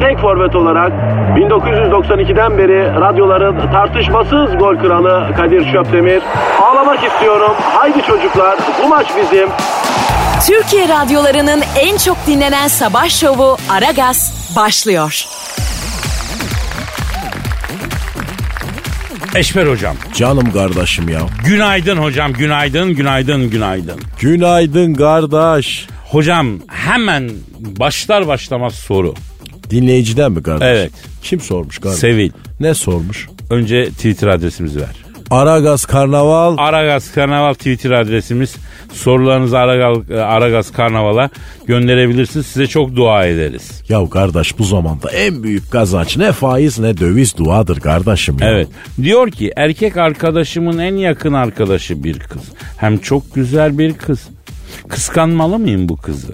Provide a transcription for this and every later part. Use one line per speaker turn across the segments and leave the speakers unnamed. tek forvet olarak 1992'den beri radyoların tartışmasız gol kralı Kadir Şöpdemir. Ağlamak istiyorum. Haydi çocuklar bu maç bizim.
Türkiye radyolarının en çok dinlenen sabah şovu Aragaz başlıyor.
Eşber hocam.
Canım kardeşim ya.
Günaydın hocam, günaydın, günaydın, günaydın.
Günaydın kardeş.
Hocam hemen başlar başlamaz soru.
Dinleyiciden mi kardeş?
Evet.
Kim sormuş kardeş?
Sevil.
ne sormuş?
Önce Twitter adresimizi ver.
Aragaz Karnaval
Aragaz Karnaval Twitter adresimiz. Sorularınızı Aragaz, Aragaz Karnaval'a gönderebilirsiniz. Size çok dua ederiz.
Ya kardeş bu zamanda en büyük kazanç ne faiz ne döviz duadır kardeşim ya.
Evet. Diyor ki erkek arkadaşımın en yakın arkadaşı bir kız. Hem çok güzel bir kız. Kıskanmalı mıyım bu kızı?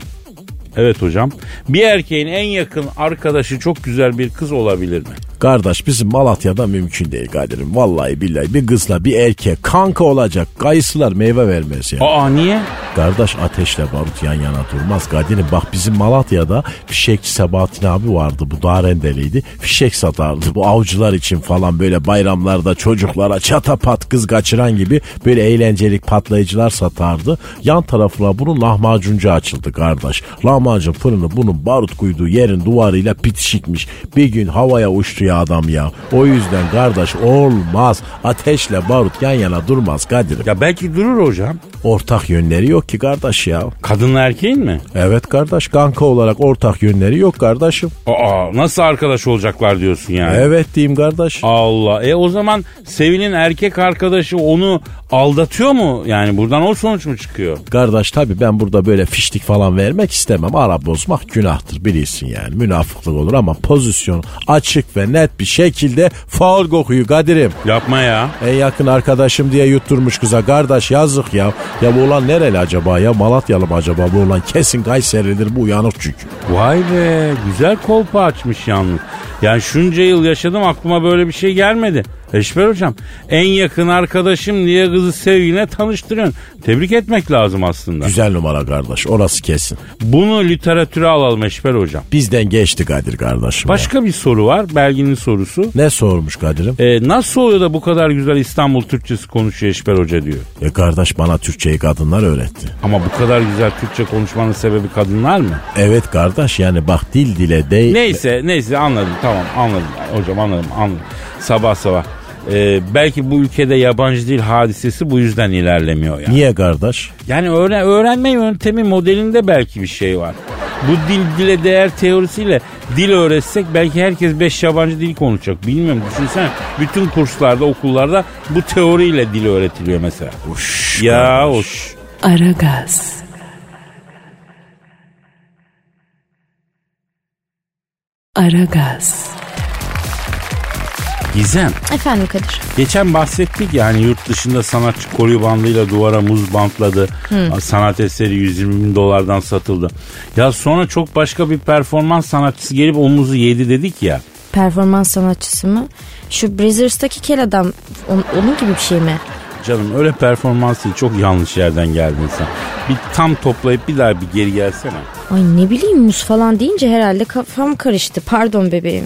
Evet hocam. Bir erkeğin en yakın arkadaşı çok güzel bir kız olabilir mi?
Kardeş bizim Malatya'da mümkün değil Kadir'im. Vallahi billahi bir kızla bir erkek kanka olacak. Kayısılar meyve vermez ya.
Aa niye?
Kardeş ateşle barut yan yana durmaz. Kadir'im bak bizim Malatya'da fişekçi Sebahattin abi vardı. Bu daha rendeliydi. Fişek satardı. Bu avcılar için falan böyle bayramlarda çocuklara çatapat kız kaçıran gibi böyle eğlencelik patlayıcılar satardı. Yan tarafına bunun lahmacuncu açıldı kardeş. Lahmacun fırını bunun barut kuyduğu yerin duvarıyla bitişikmiş. Bir gün havaya uçtu ya adam ya. O yüzden kardeş olmaz. Ateşle barut yan yana durmaz Kadir'im.
Ya belki durur hocam.
Ortak yönleri yok ki kardeş ya.
Kadınla erkeğin mi?
Evet kardeş kanka olarak ortak yönleri yok kardeşim.
Aa nasıl arkadaş olacaklar diyorsun yani?
Evet diyeyim kardeş.
Allah. E o zaman Sevil'in erkek arkadaşı onu aldatıyor mu? Yani buradan o sonuç mu çıkıyor?
Kardeş tabi ben burada böyle fişlik falan vermek istemem. Ara bozmak günahtır bilirsin yani. Münafıklık olur ama pozisyon açık ve net bir şekilde faul kokuyor Kadir'im.
Yapma ya.
En yakın arkadaşım diye yutturmuş kıza kardeş yazık ya. Ya bu olan nereli acaba ya Malatyalı mı acaba bu olan kesin Kayseri'lidir bu uyanık çünkü.
Vay be güzel kolpa açmış yalnız. Yani şunca yıl yaşadım aklıma böyle bir şey gelmedi. Eşber hocam en yakın arkadaşım diye kızı sevgiline tanıştırıyorsun. Tebrik etmek lazım aslında.
Güzel numara kardeş orası kesin.
Bunu literatüre alalım Eşber hocam.
Bizden geçti Kadir kardeşim. ya.
Başka bir soru var Belgin'in sorusu.
Ne sormuş Kadir'im?
E, nasıl oluyor da bu kadar güzel İstanbul Türkçesi konuşuyor Eşber Hoca diyor.
E kardeş bana Türkçeyi kadınlar öğretti.
Ama bu kadar güzel Türkçe konuşmanın sebebi kadınlar mı?
Evet kardeş yani bak dil dile değil.
Neyse neyse anladım tamam anladım hocam anladım anladım. Sabah sabah. Ee, belki bu ülkede yabancı dil hadisesi bu yüzden ilerlemiyor yani.
Niye kardeş?
Yani öğren- öğrenme yöntemi modelinde belki bir şey var. Bu dil dile değer teorisiyle dil öğretsek belki herkes 5 yabancı dil konuşacak. Bilmiyorum düşünsene bütün kurslarda okullarda bu teoriyle dil öğretiliyor mesela.
Uş,
Ya
kardeş.
hoş.
Aragaz. Aragaz.
Gizem
Efendim Kadir.
Geçen bahsettik yani yurt dışında sanatçı koyu bandıyla duvara muz bantladı. Sanat eseri 120 bin dolardan satıldı. Ya sonra çok başka bir performans sanatçısı gelip o muzu yedi dedik ya.
Performans sanatçısı mı? Şu Brazzers'taki kel adam on- onun gibi bir şey mi?
Canım öyle performans değil çok yanlış yerden geldin sen. Bir tam toplayıp bir daha bir geri gelsene.
Ay ne bileyim muz falan deyince herhalde kafam karıştı. Pardon bebeğim.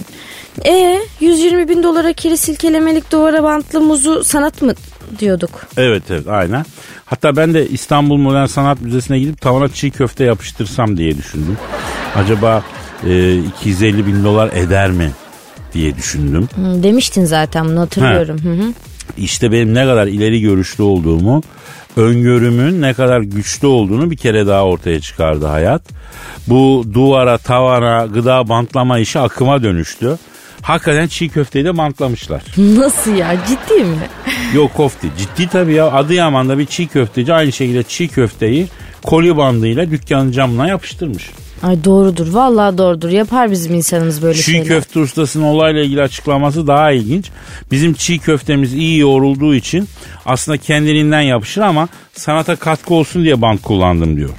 E 120 bin dolara kiri silkelemelik duvara bantlı muzu sanat mı diyorduk?
Evet evet aynen. Hatta ben de İstanbul Modern Sanat Müzesi'ne gidip tavana çiğ köfte yapıştırsam diye düşündüm. Acaba e, 250 bin dolar eder mi diye düşündüm.
Hı, Demiştin zaten bunu hatırlıyorum. Hı hı.
İşte benim ne kadar ileri görüşlü olduğumu, öngörümün ne kadar güçlü olduğunu bir kere daha ortaya çıkardı hayat. Bu duvara, tavana, gıda bantlama işi akıma dönüştü. Hakikaten çiğ köfteyi de bantlamışlar.
Nasıl ya ciddi mi?
Yok kofte. Ciddi tabii ya. Adıyaman'da bir çiğ köfteci aynı şekilde çiğ köfteyi koli bandıyla dükkanın camına yapıştırmış.
Ay doğrudur vallahi doğrudur yapar bizim insanımız böyle
Çiğ
şeyler.
köfte ustasının olayla ilgili açıklaması daha ilginç. Bizim çiğ köftemiz iyi yoğrulduğu için aslında kendiliğinden yapışır ama sanata katkı olsun diye bant kullandım diyor.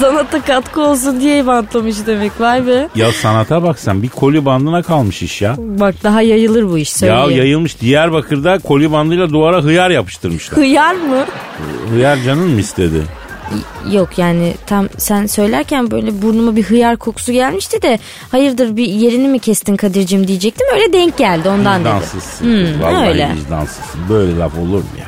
Sanata katkı olsun diye bantlamış demek vay be.
ya sanata baksan bir koli bandına kalmış iş ya.
Bak daha yayılır bu iş söyleyeyim.
Ya yayılmış Diyarbakır'da koli bandıyla duvara hıyar yapıştırmışlar.
Hıyar mı?
hıyar canın mı istedi?
Yok yani tam sen söylerken böyle burnuma bir hıyar kokusu gelmişti de hayırdır bir yerini mi kestin Kadir'cim diyecektim öyle denk geldi ondan dedim.
Vicdansızsın. kız,
Hmm,
Vallahi
öyle.
vicdansızsın. Böyle laf olur mu ya?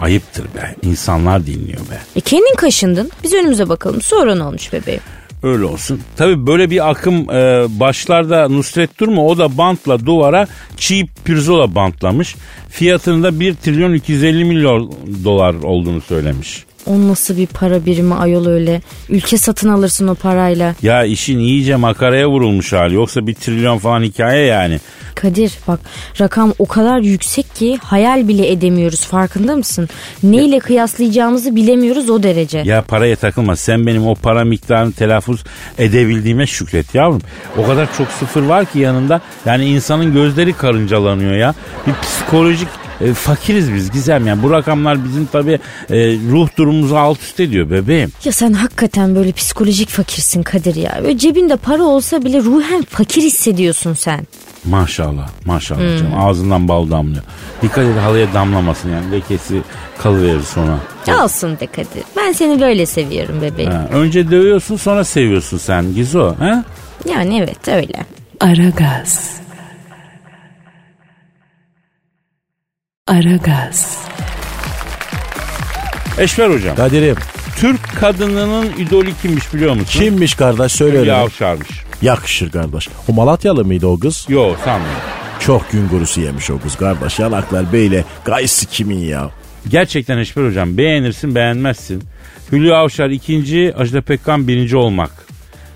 Ayıptır be. İnsanlar dinliyor be.
E kendin kaşındın biz önümüze bakalım sorun olmuş bebeğim.
Öyle olsun. Tabii böyle bir akım e, başlarda Nusret Durma o da bantla duvara çiğ pirzola bantlamış. Fiyatının da 1 trilyon 250 milyon dolar olduğunu söylemiş.
O nasıl bir para birimi ayol öyle ülke satın alırsın o parayla.
Ya işin iyice makaraya vurulmuş hali. Yoksa 1 trilyon falan hikaye yani.
Kadir bak rakam o kadar yüksek ki hayal bile edemiyoruz farkında mısın? Neyle kıyaslayacağımızı bilemiyoruz o derece.
Ya paraya takılma. Sen benim o para miktarını telaffuz edebildiğime şükret yavrum. O kadar çok sıfır var ki yanında. Yani insanın gözleri karıncalanıyor ya. Bir psikolojik e, fakiriz biz Gizem yani. Bu rakamlar bizim tabii e, ruh durumumuzu alt üst ediyor bebeğim.
Ya sen hakikaten böyle psikolojik fakirsin Kadir ya. Böyle cebinde para olsa bile ruhen fakir hissediyorsun sen.
Maşallah maşallah canım. Ağzından bal damlıyor. Dikkat et halıya damlamasın yani. Lekesi kalıverir sonra.
Olsun be Kadir. Ben seni böyle seviyorum bebeğim.
Ha, önce dövüyorsun sonra seviyorsun sen Gizo. Ha?
Yani evet öyle.
Aragaz. Aragaz.
Eşver hocam.
Kadir'im
Türk kadınının idolü kimmiş biliyor musun?
kimmiş kardeş söyle
Hülya
öyle.
Avşar'mış.
Yakışır kardeş. O Malatyalı mıydı o kız?
Yo sanmıyorum.
Çok gün kurusu yemiş o kız kardeş. Yanaklar böyle gaysi kimin ya?
Gerçekten Eşber Hocam beğenirsin beğenmezsin. Hülya Avşar ikinci, Ajda Pekkan birinci olmak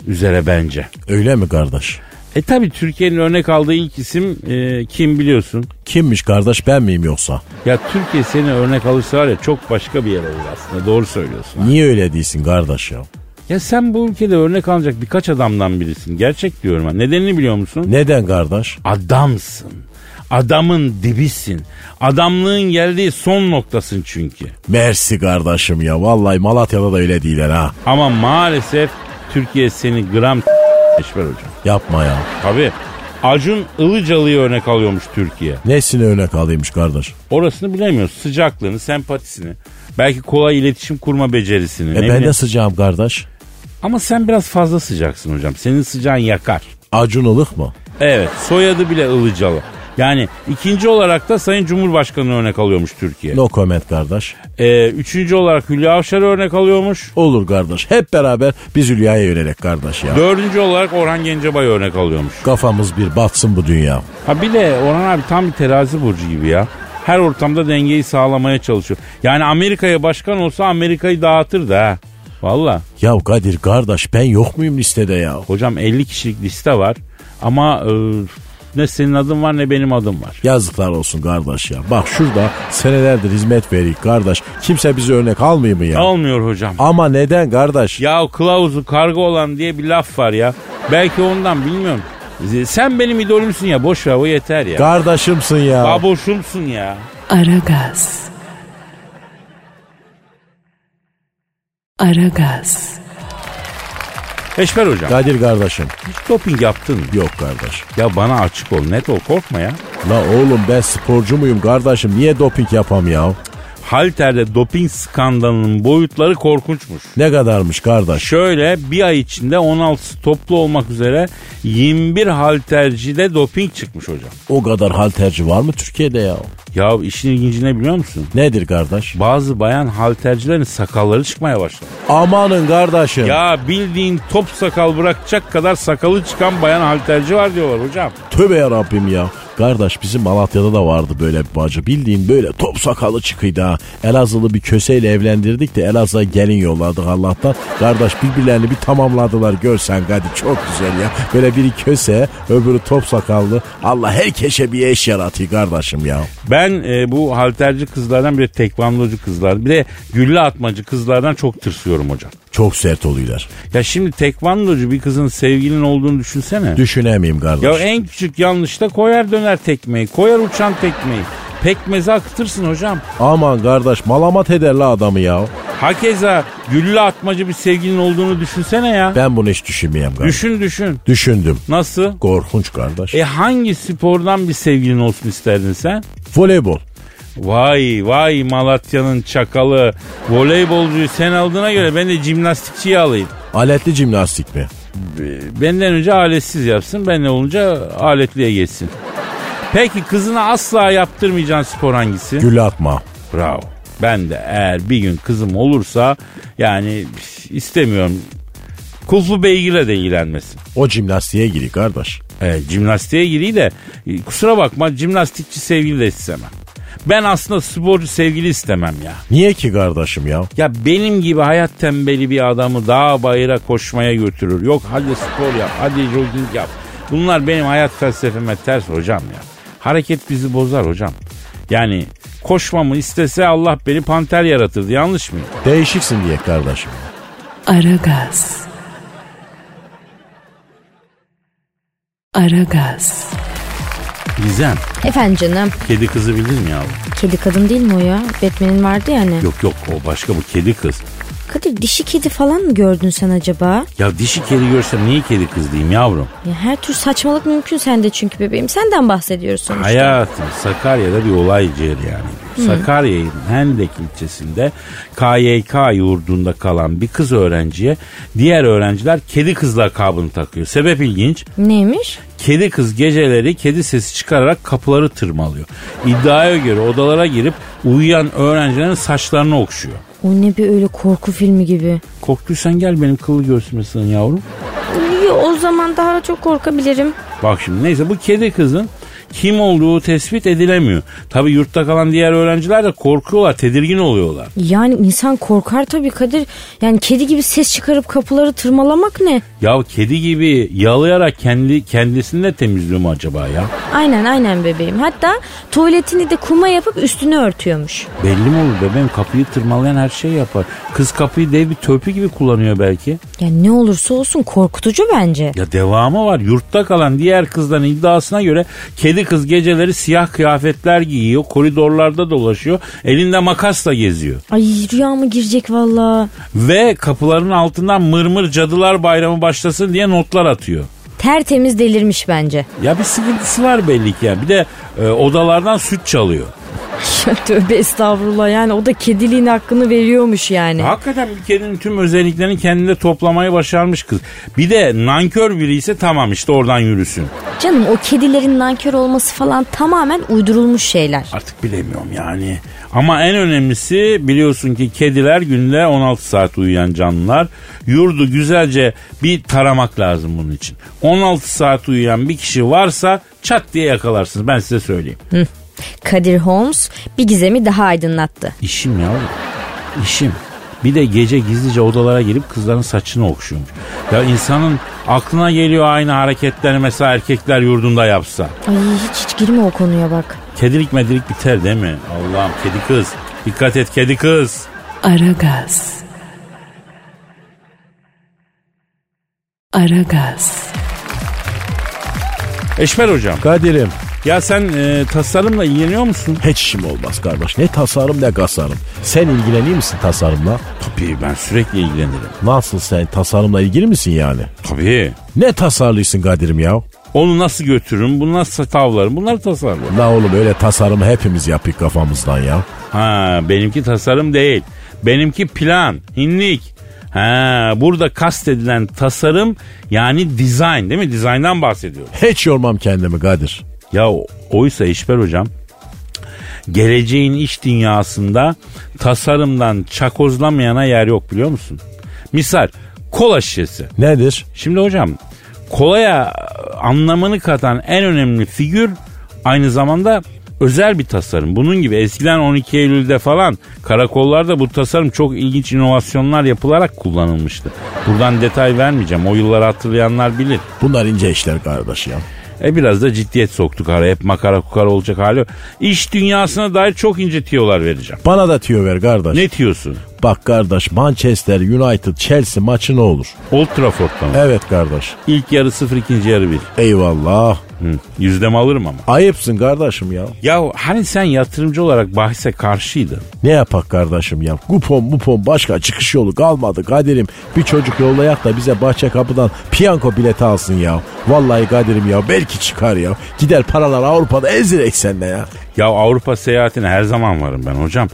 üzere bence.
Öyle mi kardeş?
E tabi Türkiye'nin örnek aldığı ilk isim e, kim biliyorsun?
Kimmiş kardeş ben miyim yoksa?
Ya Türkiye seni örnek alırsa var ya çok başka bir yere olur aslında doğru söylüyorsun. ha.
Niye öyle değilsin kardeş ya?
Ya sen bu ülkede örnek alacak birkaç adamdan birisin. Gerçek diyorum ben. Nedenini biliyor musun?
Neden kardeş?
Adamsın. Adamın dibisin. Adamlığın geldiği son noktasın çünkü.
Mersi kardeşim ya. Vallahi Malatya'da da öyle değiller ha.
Ama maalesef Türkiye seni gram Eşber hocam.
Yapma ya.
Tabii. Acun Ilıcalı'yı örnek alıyormuş Türkiye.
Nesine örnek alıyormuş kardeş?
Orasını bilemiyoruz. Sıcaklığını, sempatisini. Belki kolay iletişim kurma becerisini.
E
ne
ben
bileyim.
de sıcağım kardeş.
Ama sen biraz fazla sıcaksın hocam. Senin sıcağın yakar.
Acun ılık mı?
Evet soyadı bile Ilıcalı. Yani ikinci olarak da Sayın Cumhurbaşkanı örnek alıyormuş Türkiye.
No comment kardeş.
Ee, üçüncü olarak Hülya Avşar'ı örnek alıyormuş.
Olur kardeş. Hep beraber biz Hülya'ya yönelik kardeş ya.
Dördüncü olarak Orhan Gencebay'ı örnek alıyormuş.
Kafamız bir batsın bu dünya.
Ha bir de Orhan abi tam bir terazi burcu gibi ya. Her ortamda dengeyi sağlamaya çalışıyor. Yani Amerika'ya başkan olsa Amerika'yı dağıtır da ha. Valla.
Ya Kadir kardeş ben yok muyum listede ya?
Hocam 50 kişilik liste var. Ama e, ne senin adın var ne benim adım var.
Yazıklar olsun kardeş ya. Bak şurada senelerdir hizmet verik kardeş. Kimse bizi örnek almıyor mu ya?
Almıyor hocam.
Ama neden kardeş?
Ya kılavuzu karga olan diye bir laf var ya. Belki ondan bilmiyorum. Sen benim idolümsün ya boş ver o yeter ya.
Kardeşimsin ya.
Baboşumsun ya.
Aragaz. Aragaz.
Eşber hocam.
Kadir kardeşim.
Hiç doping yaptın mı?
Yok kardeş.
Ya bana açık ol net ol korkma ya.
La oğlum ben sporcu muyum kardeşim? Niye doping yapam ya?
Halter'de doping skandalının boyutları korkunçmuş.
Ne kadarmış kardeş?
Şöyle bir ay içinde 16 toplu olmak üzere 21 haltercide doping çıkmış hocam.
O kadar halterci var mı Türkiye'de ya?
Ya işin ilginci ne biliyor musun?
Nedir kardeş?
Bazı bayan haltercilerin sakalları çıkmaya başladı.
Amanın kardeşim.
Ya bildiğin top sakal bırakacak kadar sakalı çıkan bayan halterci var diyorlar hocam.
Tövbe yarabbim ya. Kardeş bizim Malatya'da da vardı böyle bir bacı. Bildiğin böyle top sakalı çıkıydı ha. Elazığlı bir köseyle evlendirdik de Elazığ'a gelin yolladık Allah'tan. Kardeş birbirlerini bir tamamladılar görsen Kadir çok güzel ya. Böyle biri köse öbürü top sakallı. Allah herkese bir eş yaratıyor kardeşim ya.
Ben e, bu halterci kızlardan bir de tekvandocu kızlar bir de gülle atmacı kızlardan çok tırsıyorum hocam.
Çok sert oluyorlar.
Ya şimdi tekvandocu bir kızın sevgilin olduğunu düşünsene.
Düşünemeyim kardeş.
ya en küçük yanlışta koyar döner tekmeyi, koyar uçan tekmeyi. Pekmeze akıtırsın hocam.
Aman kardeş malamat eder la adamı ya.
Hakeza gülle atmacı bir sevgilin olduğunu düşünsene ya.
Ben bunu hiç düşünmeyeyim kardeş.
Düşün düşün.
Düşündüm.
Nasıl?
Korkunç kardeş.
E hangi spordan bir sevgilin olsun isterdin sen?
Voleybol.
Vay vay Malatya'nın çakalı. Voleybolcuyu sen aldığına göre ben de jimnastikçiyi alayım.
Aletli jimnastik mi?
B- Benden önce aletsiz yapsın, benden olunca aletliye geçsin. Peki kızına asla yaptırmayacağın spor hangisi?
Gül atma.
Bravo. Ben de eğer bir gün kızım olursa yani istemiyorum. Kulfu beygirle de ilgilenmesin.
O jimnastiğe giri kardeş.
E, jimnastiğe gireyim de e, kusura bakma jimnastikçi sevgili de istemem. Ben aslında sporcu sevgili istemem ya.
Niye ki kardeşim ya?
Ya benim gibi hayat tembeli bir adamı dağa bayıra koşmaya götürür. Yok hadi spor yap, hadi jogging yap. Bunlar benim hayat felsefeme ters hocam ya. Hareket bizi bozar hocam. Yani koşmamı istese Allah beni panter yaratırdı yanlış mı?
Değişiksin diye kardeşim.
Aragaz. Aragaz.
Gizem,
Efendim canım.
kedi kızı bildin mi yavrum?
Kedi kadın değil mi o ya? Batman'in vardı yani.
Yok yok o başka bu kedi kız.
Kadir dişi kedi falan mı gördün sen acaba?
Ya dişi kedi görsem niye kedi kız diyeyim yavrum?
Ya her tür saçmalık mümkün sende çünkü bebeğim. Senden bahsediyoruz sonuçta.
Hayatım Sakarya'da bir olay ciğer yani. Sakarya'nın Hendek ilçesinde KYK yurdunda kalan bir kız öğrenciye diğer öğrenciler kedi kız lakabını takıyor. Sebep ilginç.
Neymiş?
Kedi kız geceleri kedi sesi çıkararak kapıları tırmalıyor. İddiaya göre odalara girip uyuyan öğrencilerin saçlarını okşuyor.
O ne bir öyle korku filmi gibi.
Korktuysan gel benim kıllı göğsüme sığın yavrum.
İyi, o zaman daha çok korkabilirim.
Bak şimdi neyse bu kedi kızın kim olduğu tespit edilemiyor. Tabi yurtta kalan diğer öğrenciler de korkuyorlar, tedirgin oluyorlar.
Yani insan korkar tabii Kadir. Yani kedi gibi ses çıkarıp kapıları tırmalamak ne?
Ya kedi gibi yalayarak kendi kendisini de temizliyor mu acaba ya?
Aynen aynen bebeğim. Hatta tuvaletini de kuma yapıp üstünü örtüyormuş.
Belli mi olur bebeğim kapıyı tırmalayan her şeyi yapar. Kız kapıyı dev bir törpü gibi kullanıyor belki.
Yani ne olursa olsun korkutucu bence.
Ya devamı var. Yurtta kalan diğer kızların iddiasına göre kedi kız geceleri siyah kıyafetler giyiyor. Koridorlarda dolaşıyor. Elinde makasla geziyor.
Ay rüyama girecek valla.
Ve kapıların altından mırmır cadılar bayramı başlasın diye notlar atıyor.
Tertemiz delirmiş bence.
Ya bir sıkıntısı var belli ki ya. Bir de e, odalardan süt çalıyor.
Ya Tövbe estağfurullah yani o da kediliğin hakkını veriyormuş yani.
Hakikaten bir kedinin tüm özelliklerini kendinde toplamayı başarmış kız. Bir de nankör biri ise tamam işte oradan yürüsün.
Canım o kedilerin nankör olması falan tamamen uydurulmuş şeyler.
Artık bilemiyorum yani. Ama en önemlisi biliyorsun ki kediler günde 16 saat uyuyan canlılar. Yurdu güzelce bir taramak lazım bunun için. 16 saat uyuyan bir kişi varsa çat diye yakalarsınız ben size söyleyeyim.
Kadir Holmes bir gizemi daha aydınlattı.
İşim ya oğlum. İşim. Bir de gece gizlice odalara girip kızların saçını okşuyormuş. Ya insanın aklına geliyor aynı hareketleri mesela erkekler yurdunda yapsa.
Ay hiç hiç girme o konuya bak.
Kedilik medilik biter değil mi? Allah'ım kedi kız. Dikkat et kedi kız.
Aragaz. Aragaz.
Eşmer hocam.
Kadir'im
Ya sen e, tasarımla ilgileniyor musun?
hiç işim olmaz kardeş. Ne tasarım ne kasarım. Sen ilgilenir misin tasarımla?
Tabii ben sürekli ilgilenirim.
Nasıl sen tasarımla ilgili misin yani?
Tabii.
Ne tasarlıyorsun Kadir'im ya?
Onu nasıl götürürüm? Bunu nasıl tavlarım? Bunları tasarlarım.
La oğlum öyle tasarımı hepimiz yapık kafamızdan ya.
Ha benimki tasarım değil. Benimki plan, hinlik. Ha burada kastedilen tasarım yani dizayn değil mi? Dizayndan bahsediyoruz.
Hiç yormam kendimi Kadir.
Ya o- oysa İşber hocam geleceğin iş dünyasında tasarımdan çakozlamayana yer yok biliyor musun? Misal kola şişesi.
Nedir?
e, Şimdi hocam kolaya anlamını katan en önemli figür Aynı zamanda özel bir tasarım. Bunun gibi eskiden 12 Eylül'de falan karakollarda bu tasarım çok ilginç inovasyonlar yapılarak kullanılmıştı. Buradan detay vermeyeceğim. O yılları hatırlayanlar bilir.
Bunlar ince işler kardeş ya.
E biraz da ciddiyet soktuk ara. Hep makara kukara olacak hali yok. İş dünyasına dair çok ince tiyolar vereceğim.
Bana da tüyo ver kardeş.
Ne tiyorsun?
Bak kardeş Manchester United Chelsea maçı ne olur?
Old Trafford'da mı?
Evet kardeş.
İlk yarı 0, ikinci yarı 1.
Eyvallah.
Hı. Yüzdemi alırım ama.
Ayıpsın kardeşim ya.
Ya hani sen yatırımcı olarak bahse karşıydın.
Ne yapak kardeşim ya? Kupon mupon başka çıkış yolu kalmadı Kadir'im. Bir çocuk yollayak da bize bahçe kapıdan piyango bileti alsın ya. Vallahi Kadir'im ya belki çıkar ya. Gider paralar Avrupa'da ezirek senle ya.
Ya Avrupa seyahatine her zaman varım ben hocam.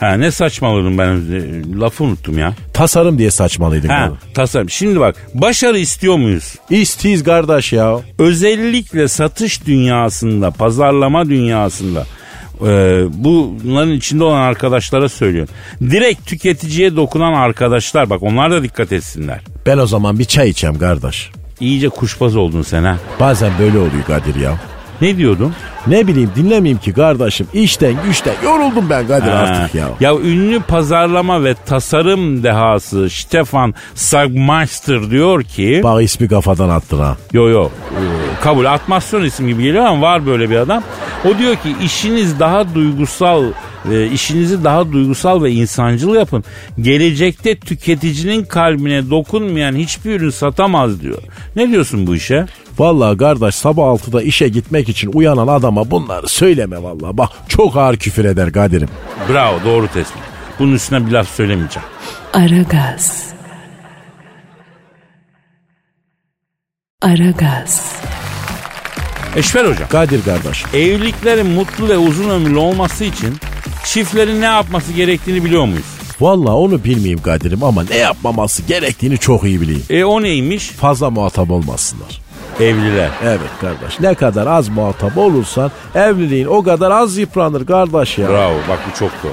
Ha ne saçmaladım ben e, lafı unuttum ya.
Tasarım diye saçmalıydın.
Ha
kardeş.
tasarım. Şimdi bak başarı istiyor muyuz?
İstiyiz kardeş ya.
Özellikle satış dünyasında, pazarlama dünyasında e, bunların içinde olan arkadaşlara söylüyorum. Direkt tüketiciye dokunan arkadaşlar bak onlar da dikkat etsinler.
Ben o zaman bir çay içeyim kardeş.
İyice kuşbaz oldun sen ha.
Bazen böyle oluyor Kadir ya.
Ne diyordun?
Ne bileyim dinlemeyeyim ki kardeşim. İşten güçten yoruldum ben Kadir artık ya.
Ya ünlü pazarlama ve tasarım dehası Stefan Sagmeister diyor ki...
Bak ismi kafadan attın ha.
Yo yo e, kabul atmasyon isim gibi geliyor ama var böyle bir adam. O diyor ki işiniz daha duygusal e, işinizi daha duygusal ve insancıl yapın. Gelecekte tüketicinin kalbine dokunmayan hiçbir ürün satamaz diyor. Ne diyorsun bu işe?
Vallahi kardeş sabah 6'da işe gitmek için uyanan adama bunları söyleme vallahi. Bak çok ağır küfür eder Kadir'im.
Bravo doğru tespit. Bunun üstüne bir laf söylemeyeceğim.
Aragaz. Aragaz.
Eşver hocam.
Kadir kardeş.
Evliliklerin mutlu ve uzun ömürlü olması için çiftlerin ne yapması gerektiğini biliyor muyuz?
Vallahi onu bilmeyeyim Kadir'im ama ne yapmaması gerektiğini çok iyi bileyim.
E o neymiş?
Fazla muhatap olmasınlar.
Evliler.
Evet kardeş. Ne kadar az muhatap olursan evliliğin o kadar az yıpranır kardeş ya.
Bravo bak bu çok doğru.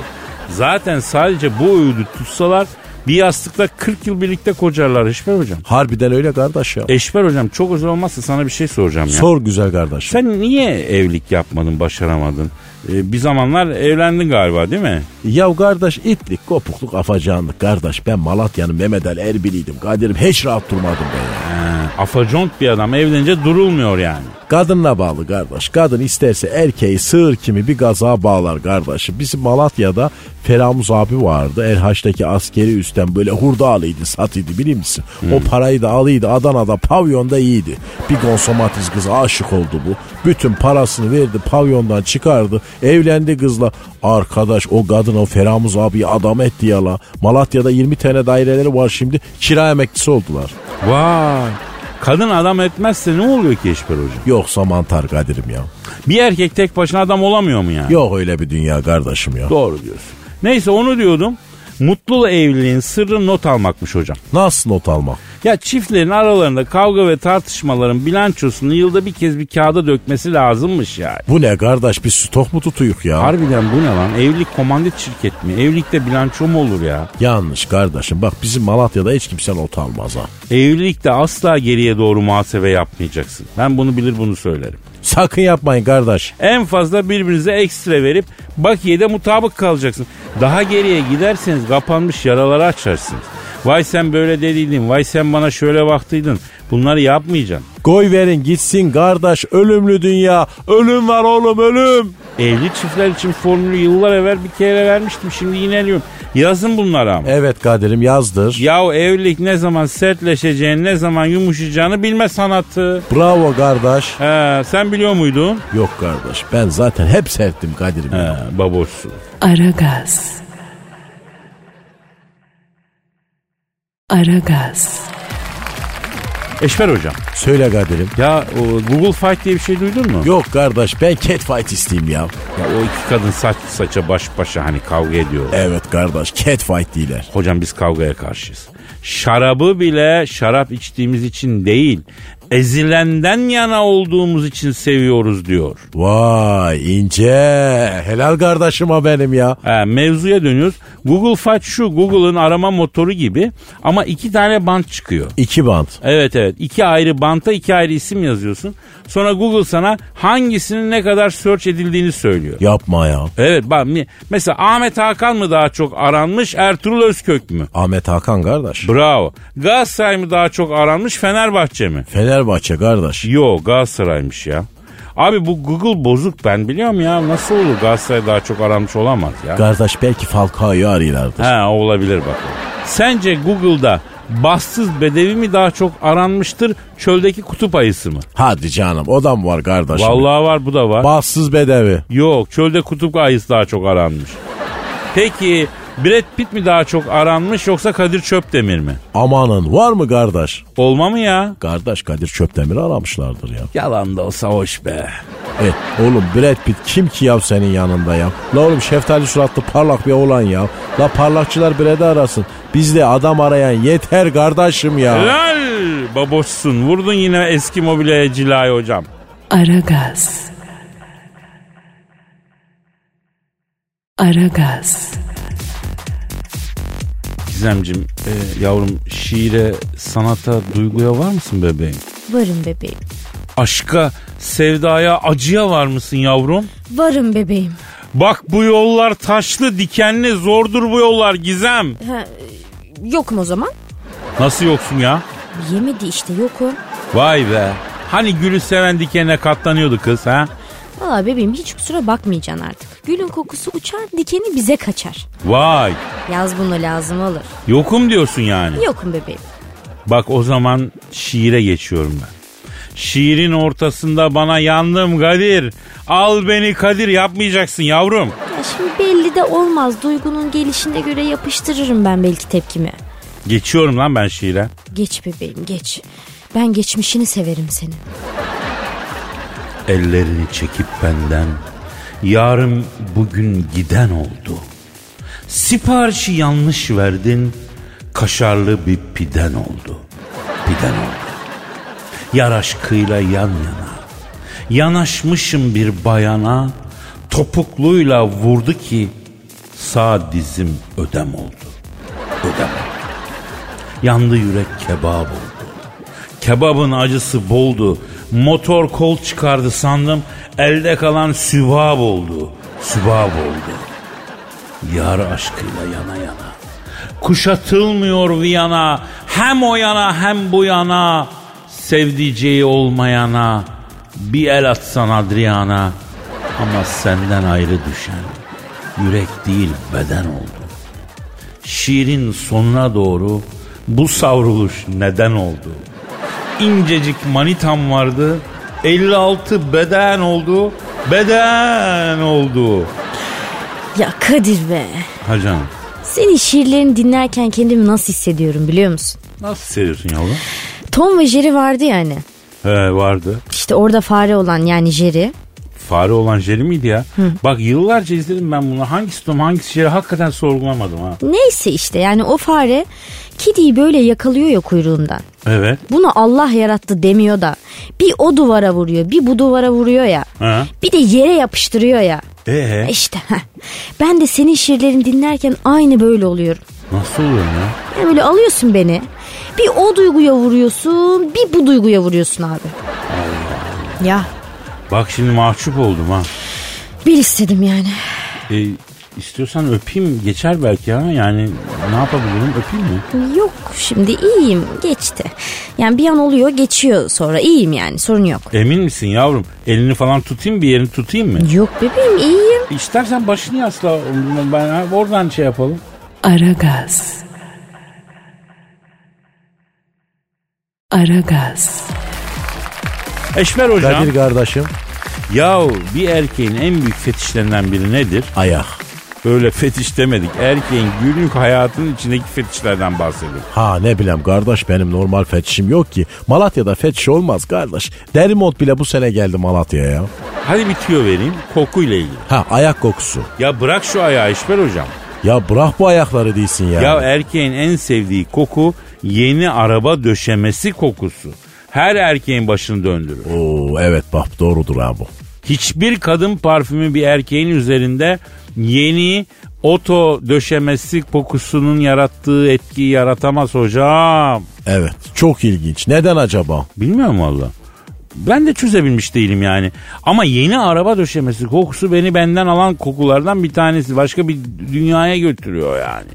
Zaten sadece bu öğüdü tutsalar bir yastıkta 40 yıl birlikte kocarlar Eşber hocam.
Harbiden öyle kardeş ya.
Eşber hocam çok özel olmazsa sana bir şey soracağım E, ya.
Sor güzel kardeş.
Sen niye evlilik yapmadın, başaramadın? Ee, bir zamanlar evlendin galiba değil mi?
Ya kardeş itlik, kopukluk, afacanlık kardeş. Ben Malatya'nın Mehmet Ali Erbil'iydim. Kadir'im hiç rahat durmadım ben ya.
Ha, afacont Ee, bir adam evlenince durulmuyor yani.
Kadınla bağlı kardeş. Kadın isterse erkeği sığır kimi bir gaza bağlar kardeşim. Bizim Malatya'da Feramuz abi vardı. Erhaç'taki askeri üstten böyle hurda alıydı satıydı bilir misin? O parayı da alıydı Adana'da pavyonda iyiydi. Bir konsomatiz kıza aşık oldu bu. Bütün parasını verdi pavyondan çıkardı. Evlendi kızla. Arkadaş o kadın o Feramuz abiyi adam etti ya la. Malatya'da 20 tane daireleri var şimdi. Kira emeklisi oldular.
Vay. Kadın adam etmezse ne oluyor ki Eşber hocam?
Yoksa mantar Kadir'im ya.
Bir erkek tek başına adam olamıyor mu yani?
Yok öyle bir dünya kardeşim ya.
Doğru diyorsun. Neyse onu diyordum. Mutlu evliliğin sırrı not almakmış hocam.
Nasıl not almak?
Ya çiftlerin aralarında kavga ve tartışmaların bilançosunu yılda bir kez bir kağıda dökmesi lazımmış yani.
Bu ne kardeş biz stok mu tutuyuk ya?
Harbiden bu ne lan? Evlilik komandit şirket mi? Evlilikte bilanço mu olur ya?
Yanlış kardeşim bak bizim Malatya'da hiç kimse not almaz ha.
Evlilikte asla geriye doğru muhasebe yapmayacaksın. Ben bunu bilir bunu söylerim.
Sakın yapmayın kardeş.
En fazla birbirinize ekstra verip bakiyede mutabık kalacaksın. Daha geriye giderseniz kapanmış yaraları açarsınız. Vay sen böyle dediydin, vay sen bana şöyle baktıydın. Bunları yapmayacaksın.
Koy verin gitsin kardeş ölümlü dünya. Ölüm var oğlum ölüm.
Evli çiftler için formülü yıllar evvel bir kere vermiştim. Şimdi yineliyorum. Yazın bunları ama.
Evet Kadir'im yazdır.
Yahu evlilik ne zaman sertleşeceğini, ne zaman yumuşayacağını bilme sanatı.
Bravo kardeş.
He, sen biliyor muydun?
Yok kardeş ben zaten hep serttim Kadir'im.
He,
ya.
baboşsun.
Aragaz. Aragaz.
Eşber hocam.
Söyle Kadir'im.
Ya o Google Fight diye bir şey duydun mu?
Yok kardeş ben catfight isteyeyim ya.
Ya o iki kadın saç saça baş başa hani kavga ediyor.
Evet kardeş catfight değiller.
Hocam biz kavgaya karşıyız. Şarabı bile şarap içtiğimiz için değil, ezilenden yana olduğumuz için seviyoruz diyor.
Vay ince. Helal kardeşim benim ya.
Ha, mevzuya dönüyoruz. Google Fetch şu Google'ın arama motoru gibi ama iki tane bant çıkıyor.
İki bant.
Evet evet iki ayrı banta iki ayrı isim yazıyorsun. Sonra Google sana hangisinin ne kadar search edildiğini söylüyor.
Yapma ya.
Evet bak mi- mesela Ahmet Hakan mı daha çok aranmış Ertuğrul Özkök mü?
Ahmet Hakan kardeş.
Bravo. Galatasaray mı daha çok aranmış Fenerbahçe mi?
Fenerbahçe kardeş.
Yo Galatasaray'mış ya. Abi bu Google bozuk ben biliyorum ya. Nasıl olur Galatasaray daha çok aranmış olamaz ya.
Kardeş belki Falcao'yu arıyorlardı.
Ha olabilir bak. Sence Google'da bassız bedevi mi daha çok aranmıştır çöldeki kutup ayısı mı?
Hadi canım o da mı var kardeş?
Vallahi var bu da var.
Bahtsız bedevi.
Yok çölde kutup ayısı daha çok aranmış. Peki Brad Pitt mi daha çok aranmış yoksa Kadir Çöpdemir mi?
Amanın var mı kardeş?
Olma mı ya?
Kardeş Kadir Çöpdemir'i aramışlardır ya.
Yalan da olsa hoş be.
E, oğlum Brad Pitt kim ki ya senin yanında ya? La oğlum şeftali suratlı parlak bir oğlan ya. La parlakçılar Brad'i arasın. Biz de adam arayan yeter kardeşim ya.
Helal baboşsun vurdun yine eski mobilyaya cilayı hocam.
Aragaz. Aragaz.
Gizemcim e, yavrum şiire, sanata, duyguya var mısın bebeğim?
Varım bebeğim.
Aşka, sevdaya, acıya var mısın yavrum?
Varım bebeğim.
Bak bu yollar taşlı, dikenli, zordur bu yollar Gizem.
Ha, yokum o zaman.
Nasıl yoksun ya?
Yemedi işte yokum.
Vay be. Hani gülü seven dikenine katlanıyordu kız ha?
Valla bebeğim hiç kusura bakmayacaksın artık. Gülün kokusu uçar dikeni bize kaçar.
Vay.
Yaz bunu lazım olur.
Yokum diyorsun yani.
Yokum bebeğim.
Bak o zaman şiire geçiyorum ben. Şiirin ortasında bana yandım Kadir. Al beni Kadir yapmayacaksın yavrum.
Ya şimdi belli de olmaz. Duygunun gelişine göre yapıştırırım ben belki tepkimi.
Geçiyorum lan ben şiire.
Geç bebeğim geç. Ben geçmişini severim senin.
Ellerini çekip benden Yarım bugün giden oldu Siparişi yanlış verdin Kaşarlı bir piden oldu Piden oldu Yar aşkıyla yan yana Yanaşmışım bir bayana Topukluyla vurdu ki Sağ dizim ödem oldu Ödem oldu Yandı yürek kebap oldu Kebabın acısı boldu. Motor kol çıkardı sandım. Elde kalan sübab oldu. Sübab oldu. Yar aşkıyla yana yana. Kuşatılmıyor Viyana. Hem o yana hem bu yana. Sevdiceği olmayana. Bir el atsan Adriana. Ama senden ayrı düşen. Yürek değil beden oldu. Şiirin sonuna doğru bu savruluş neden oldu? İncecik manitam vardı. 56 beden oldu. Beden oldu.
Ya Kadir be.
Ha canım.
Senin şiirlerini dinlerken kendimi nasıl hissediyorum biliyor musun?
Nasıl seviyorsun yavrum?
Tom ve Jerry vardı yani.
He vardı.
İşte orada fare olan yani Jerry.
Fare olan jeli miydi ya? Bak yıllarca izledim ben bunu. Hangisi Tom hangisi jeli hakikaten sorgulamadım ha.
Neyse işte yani o fare kediyi böyle yakalıyor ya kuyruğundan.
Evet.
Bunu Allah yarattı demiyor da bir o duvara vuruyor bir bu duvara vuruyor ya.
Ha.
Bir de yere yapıştırıyor ya.
Ee
İşte heh. ben de senin şiirlerini dinlerken aynı böyle oluyorum.
nasıl oluyor ya?
Yani böyle alıyorsun beni. Bir o duyguya vuruyorsun bir bu duyguya vuruyorsun abi. Ya
Bak şimdi mahcup oldum ha.
bir istedim yani.
E, istiyorsan öpeyim geçer belki ha. Yani ne yapabilirim öpeyim mi?
Yok şimdi iyiyim geçti. Yani bir an oluyor geçiyor sonra iyiyim yani sorun yok.
Emin misin yavrum? Elini falan tutayım bir yerini tutayım mı?
Yok bebeğim iyiyim.
İstersen başını yasla ben ha, oradan şey yapalım.
Aragaz. Aragaz.
Eşmer hocam.
Kadir kardeşim.
Yahu bir erkeğin en büyük fetişlerinden biri nedir?
Ayak.
Böyle fetiş demedik. Erkeğin günlük hayatının içindeki fetişlerden bahsediyoruz.
Ha ne bileyim kardeş benim normal fetişim yok ki. Malatya'da fetiş olmaz kardeş. Derimont bile bu sene geldi Malatya'ya ya.
Hadi bir tüyo vereyim. Kokuyla ilgili.
Ha ayak kokusu.
Ya bırak şu ayağı Eşmer hocam.
Ya bırak bu ayakları
e-
değilsin ya.
Ya erkeğin en sevdiği koku yeni araba döşemesi kokusu. her erkeğin başını döndürür.
Oo evet bak doğrudur ha bu.
Hiçbir kadın parfümü bir erkeğin üzerinde yeni oto döşemesi kokusunun yarattığı etkiyi yaratamaz hocam.
Evet çok ilginç. Neden acaba?
Bilmiyorum valla. Ben de çözebilmiş değilim yani. Ama yeni araba döşemesi kokusu beni benden alan kokulardan bir tanesi. Başka bir dünyaya götürüyor yani.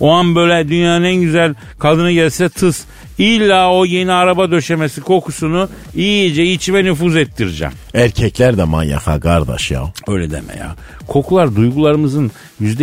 O an böyle dünyanın en güzel kadını gelse tıs. İlla o yeni araba döşemesi kokusunu iyice içime nüfuz ettireceğim.
Erkekler de manyak ha kardeş ya.
Öyle deme ya. Kokular duygularımızın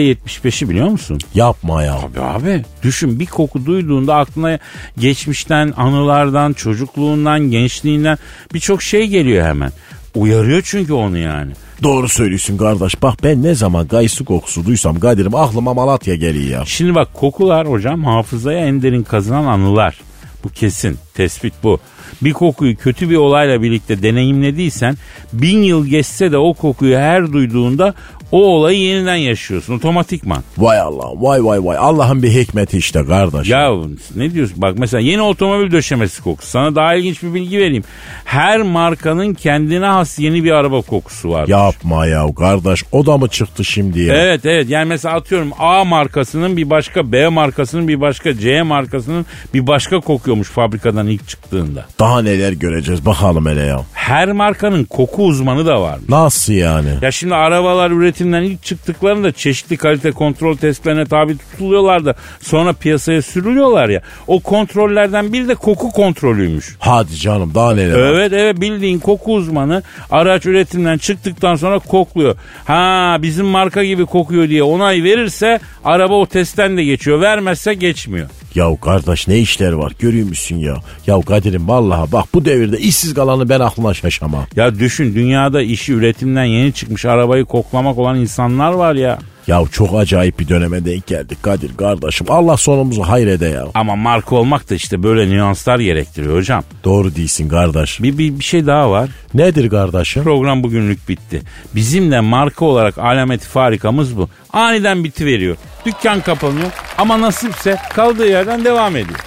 %75'i biliyor musun?
Yapma ya.
Abi abi düşün bir koku duyduğunda aklına geçmişten, anılardan, çocukluğundan, gençliğinden birçok şey geliyor hemen. Uyarıyor çünkü onu yani.
Doğru söylüyorsun kardeş. Bak ben ne zaman gaysu kokusu duysam Kadir'im aklıma Malatya geliyor ya.
Şimdi bak kokular hocam hafızaya en derin kazınan anılar. Bu kesin. Tespit bu. Bir kokuyu kötü bir olayla birlikte deneyimlediysen bin yıl geçse de o kokuyu her duyduğunda o olayı yeniden yaşıyorsun otomatikman.
Vay Allah vay vay vay. Allah'ın bir hikmeti işte kardeş.
Ya ne diyorsun? Bak mesela yeni otomobil döşemesi kokusu. Sana daha ilginç bir bilgi vereyim. Her markanın kendine has yeni bir araba kokusu var.
Yapma ya kardeş. O da mı çıktı şimdi ya?
Evet evet yani mesela atıyorum A markasının bir başka B markasının bir başka C markasının bir başka kokuyormuş fabrikadan ilk çıktığında.
Daha neler göreceğiz bakalım hele ya.
Her markanın koku uzmanı da var.
Nasıl yani?
Ya şimdi arabalar üretimden ilk çıktıklarında çeşitli kalite kontrol testlerine tabi tutuluyorlar da sonra piyasaya sürülüyorlar ya. O kontrollerden biri de koku kontrolüymüş.
Hadi canım daha neler. var?
Evet evet bildiğin koku uzmanı araç üretimden çıktıktan sonra kokluyor. Ha bizim marka gibi kokuyor diye onay verirse araba o testten de geçiyor. Vermezse geçmiyor.
Ya kardeş ne işler var görüyor musun ya? Ya Kadir'im vallahi bak bu devirde işsiz kalanı ben aklına şaşamam.
Ya düşün dünyada işi üretimden yeni çıkmış arabayı koklamak olan insanlar var ya.
Ya çok acayip bir döneme denk geldik Kadir kardeşim. Allah sonumuzu hayrede ya.
Ama marka olmak da işte böyle nüanslar gerektiriyor hocam.
Doğru değilsin kardeş.
Bir, bir, bir şey daha var.
Nedir kardeşim?
Program bugünlük bitti. Bizim de marka olarak alameti farikamız bu. Aniden biti veriyor. Dükkan kapanıyor ama nasipse kaldığı yerden devam ediyor.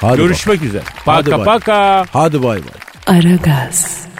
Hadi
Görüşmek üzere. Paka
Hadi bak.
paka.
Hadi bay bay.
Aragaz.